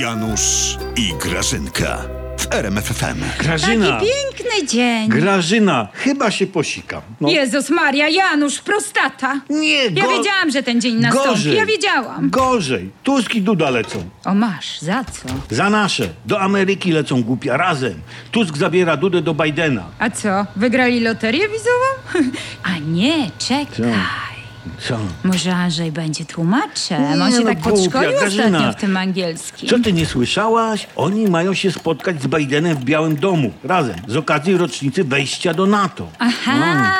Janusz i Grażynka w RMFFM. Taki Grażyna! piękny dzień. Grażyna! Chyba się posikam. No. Jezus Maria, Janusz, prostata. Nie, Ja go- wiedziałam, że ten dzień nastąpi. Gorzej. Ja wiedziałam. Gorzej. Tusk i Duda lecą. O masz, za co? Za nasze. Do Ameryki lecą głupia. Razem. Tusk zabiera Dudę do Bidena. A co, wygrali loterię wizową? A nie, czekaj. Co? Może Andrzej będzie tłumaczem. On Nie, się no tak głupia, podszkolił ostatnio Grażyna. w tym angielskim. Co ty nie słyszałaś? Oni mają się spotkać z Bidenem w Białym Domu. Razem. Z okazji rocznicy wejścia do NATO. Aha,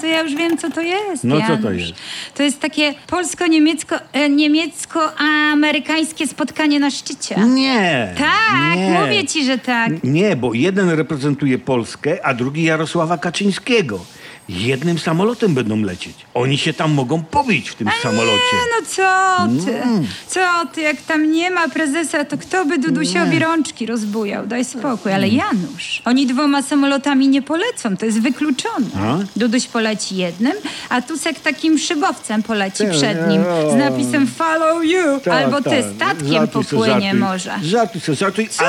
to ja już wiem, co to jest. No, co to Janusz. jest? To jest takie polsko-niemiecko, e, niemiecko-amerykańskie spotkanie na szczycie. Nie. Tak, nie. mówię ci, że tak. Nie, bo jeden reprezentuje Polskę, a drugi Jarosława Kaczyńskiego. Jednym samolotem będą lecieć. Oni się tam mogą pobić w tym samolocie. Nie, no co ty? Mm. Co ty? Jak tam nie ma prezesa, to kto by Dudusiowi rączki rozbujał? Daj spokój. Mm. Ale Janusz, oni dwoma samolotami nie polecą. To jest wykluczone. A? Duduś poleci jednym, a Tusek takim szybowcem poleci Tak, przed nim z napisem follow you. Albo ty statkiem popłynie może. Żartuj, co, żartuj. Co?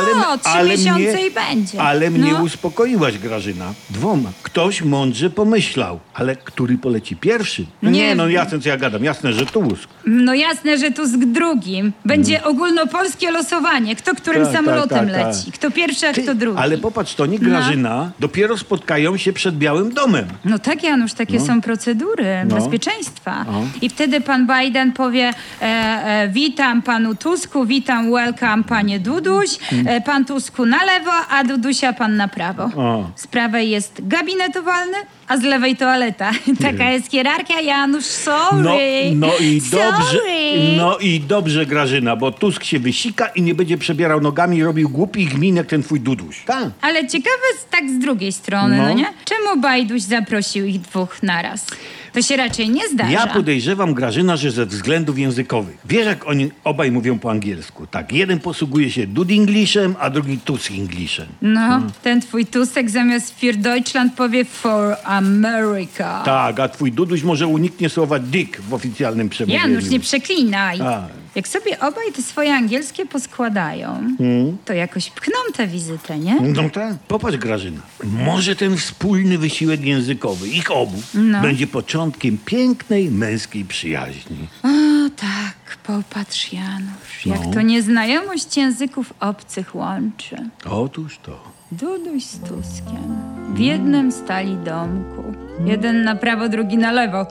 Trzy miesiące i będzie. Ale mnie No. uspokoiłaś, Grażyna. Dwoma. Ktoś mądrze pomyślał. Ale który poleci pierwszy? No Nie nie, no wiem. jasne, co ja gadam. Jasne, że Tusk. No jasne, że Tusk drugim. Będzie ogólnopolskie losowanie. Kto którym Mm. Tak, tak, samolotem tak, tak. leci? Kto pierwszy, a Ty, kto drugi? Ale popatrz, to nie Grażyna. Dopiero spotkają się przed Białym Domem. No tak, Janusz, takie są procedury No. bezpieczeństwa. I wtedy pan Biden powie: e, e, Witam panu Tusku, witam, welcome panie Duduś. Mm. E, pan Tusku na lewo, a Dudusia pan na prawo. O. Z prawej jest gabinetowalny, a z lewej toaleta. Taka jest hierarchia, Janusz, sorry. No, no i dobrze. Sorry. No i dobrze, Grażyna, bo Tusk się wysika i nie będzie przebierał nogami i robił głupich min jak ten twój duduś. Tak. Ale ciekawe jest tak z drugiej strony, no, No. nie? Czemu Bajduś zaprosił ich dwóch naraz? To się raczej nie zdarza. Ja podejrzewam, Grażyna, że ze względów językowych. Wiesz, jak oni obaj mówią po angielsku. Tak, jeden posługuje się dud Englishem, a drugi Tusk Englishem. No, ten twój tusek zamiast für Deutschland powie for America. Tak, a twój duduś może uniknie słowa dick w oficjalnym przemówieniu. Janusz, nie przeklinaj. A. Jak sobie obaj te swoje angielskie poskładają, to jakoś pchną tę wizytę, nie? No tak. Popatrz, Grażyna. Może ten wspólny wysiłek językowy, ich obu, No. będzie początkiem pięknej męskiej przyjaźni. O tak, popatrz Janusz, jak to nieznajomość języków obcych łączy. Otóż to. Duduś z Tuskiem. W jednym stali domku. Jeden na prawo, drugi na lewo.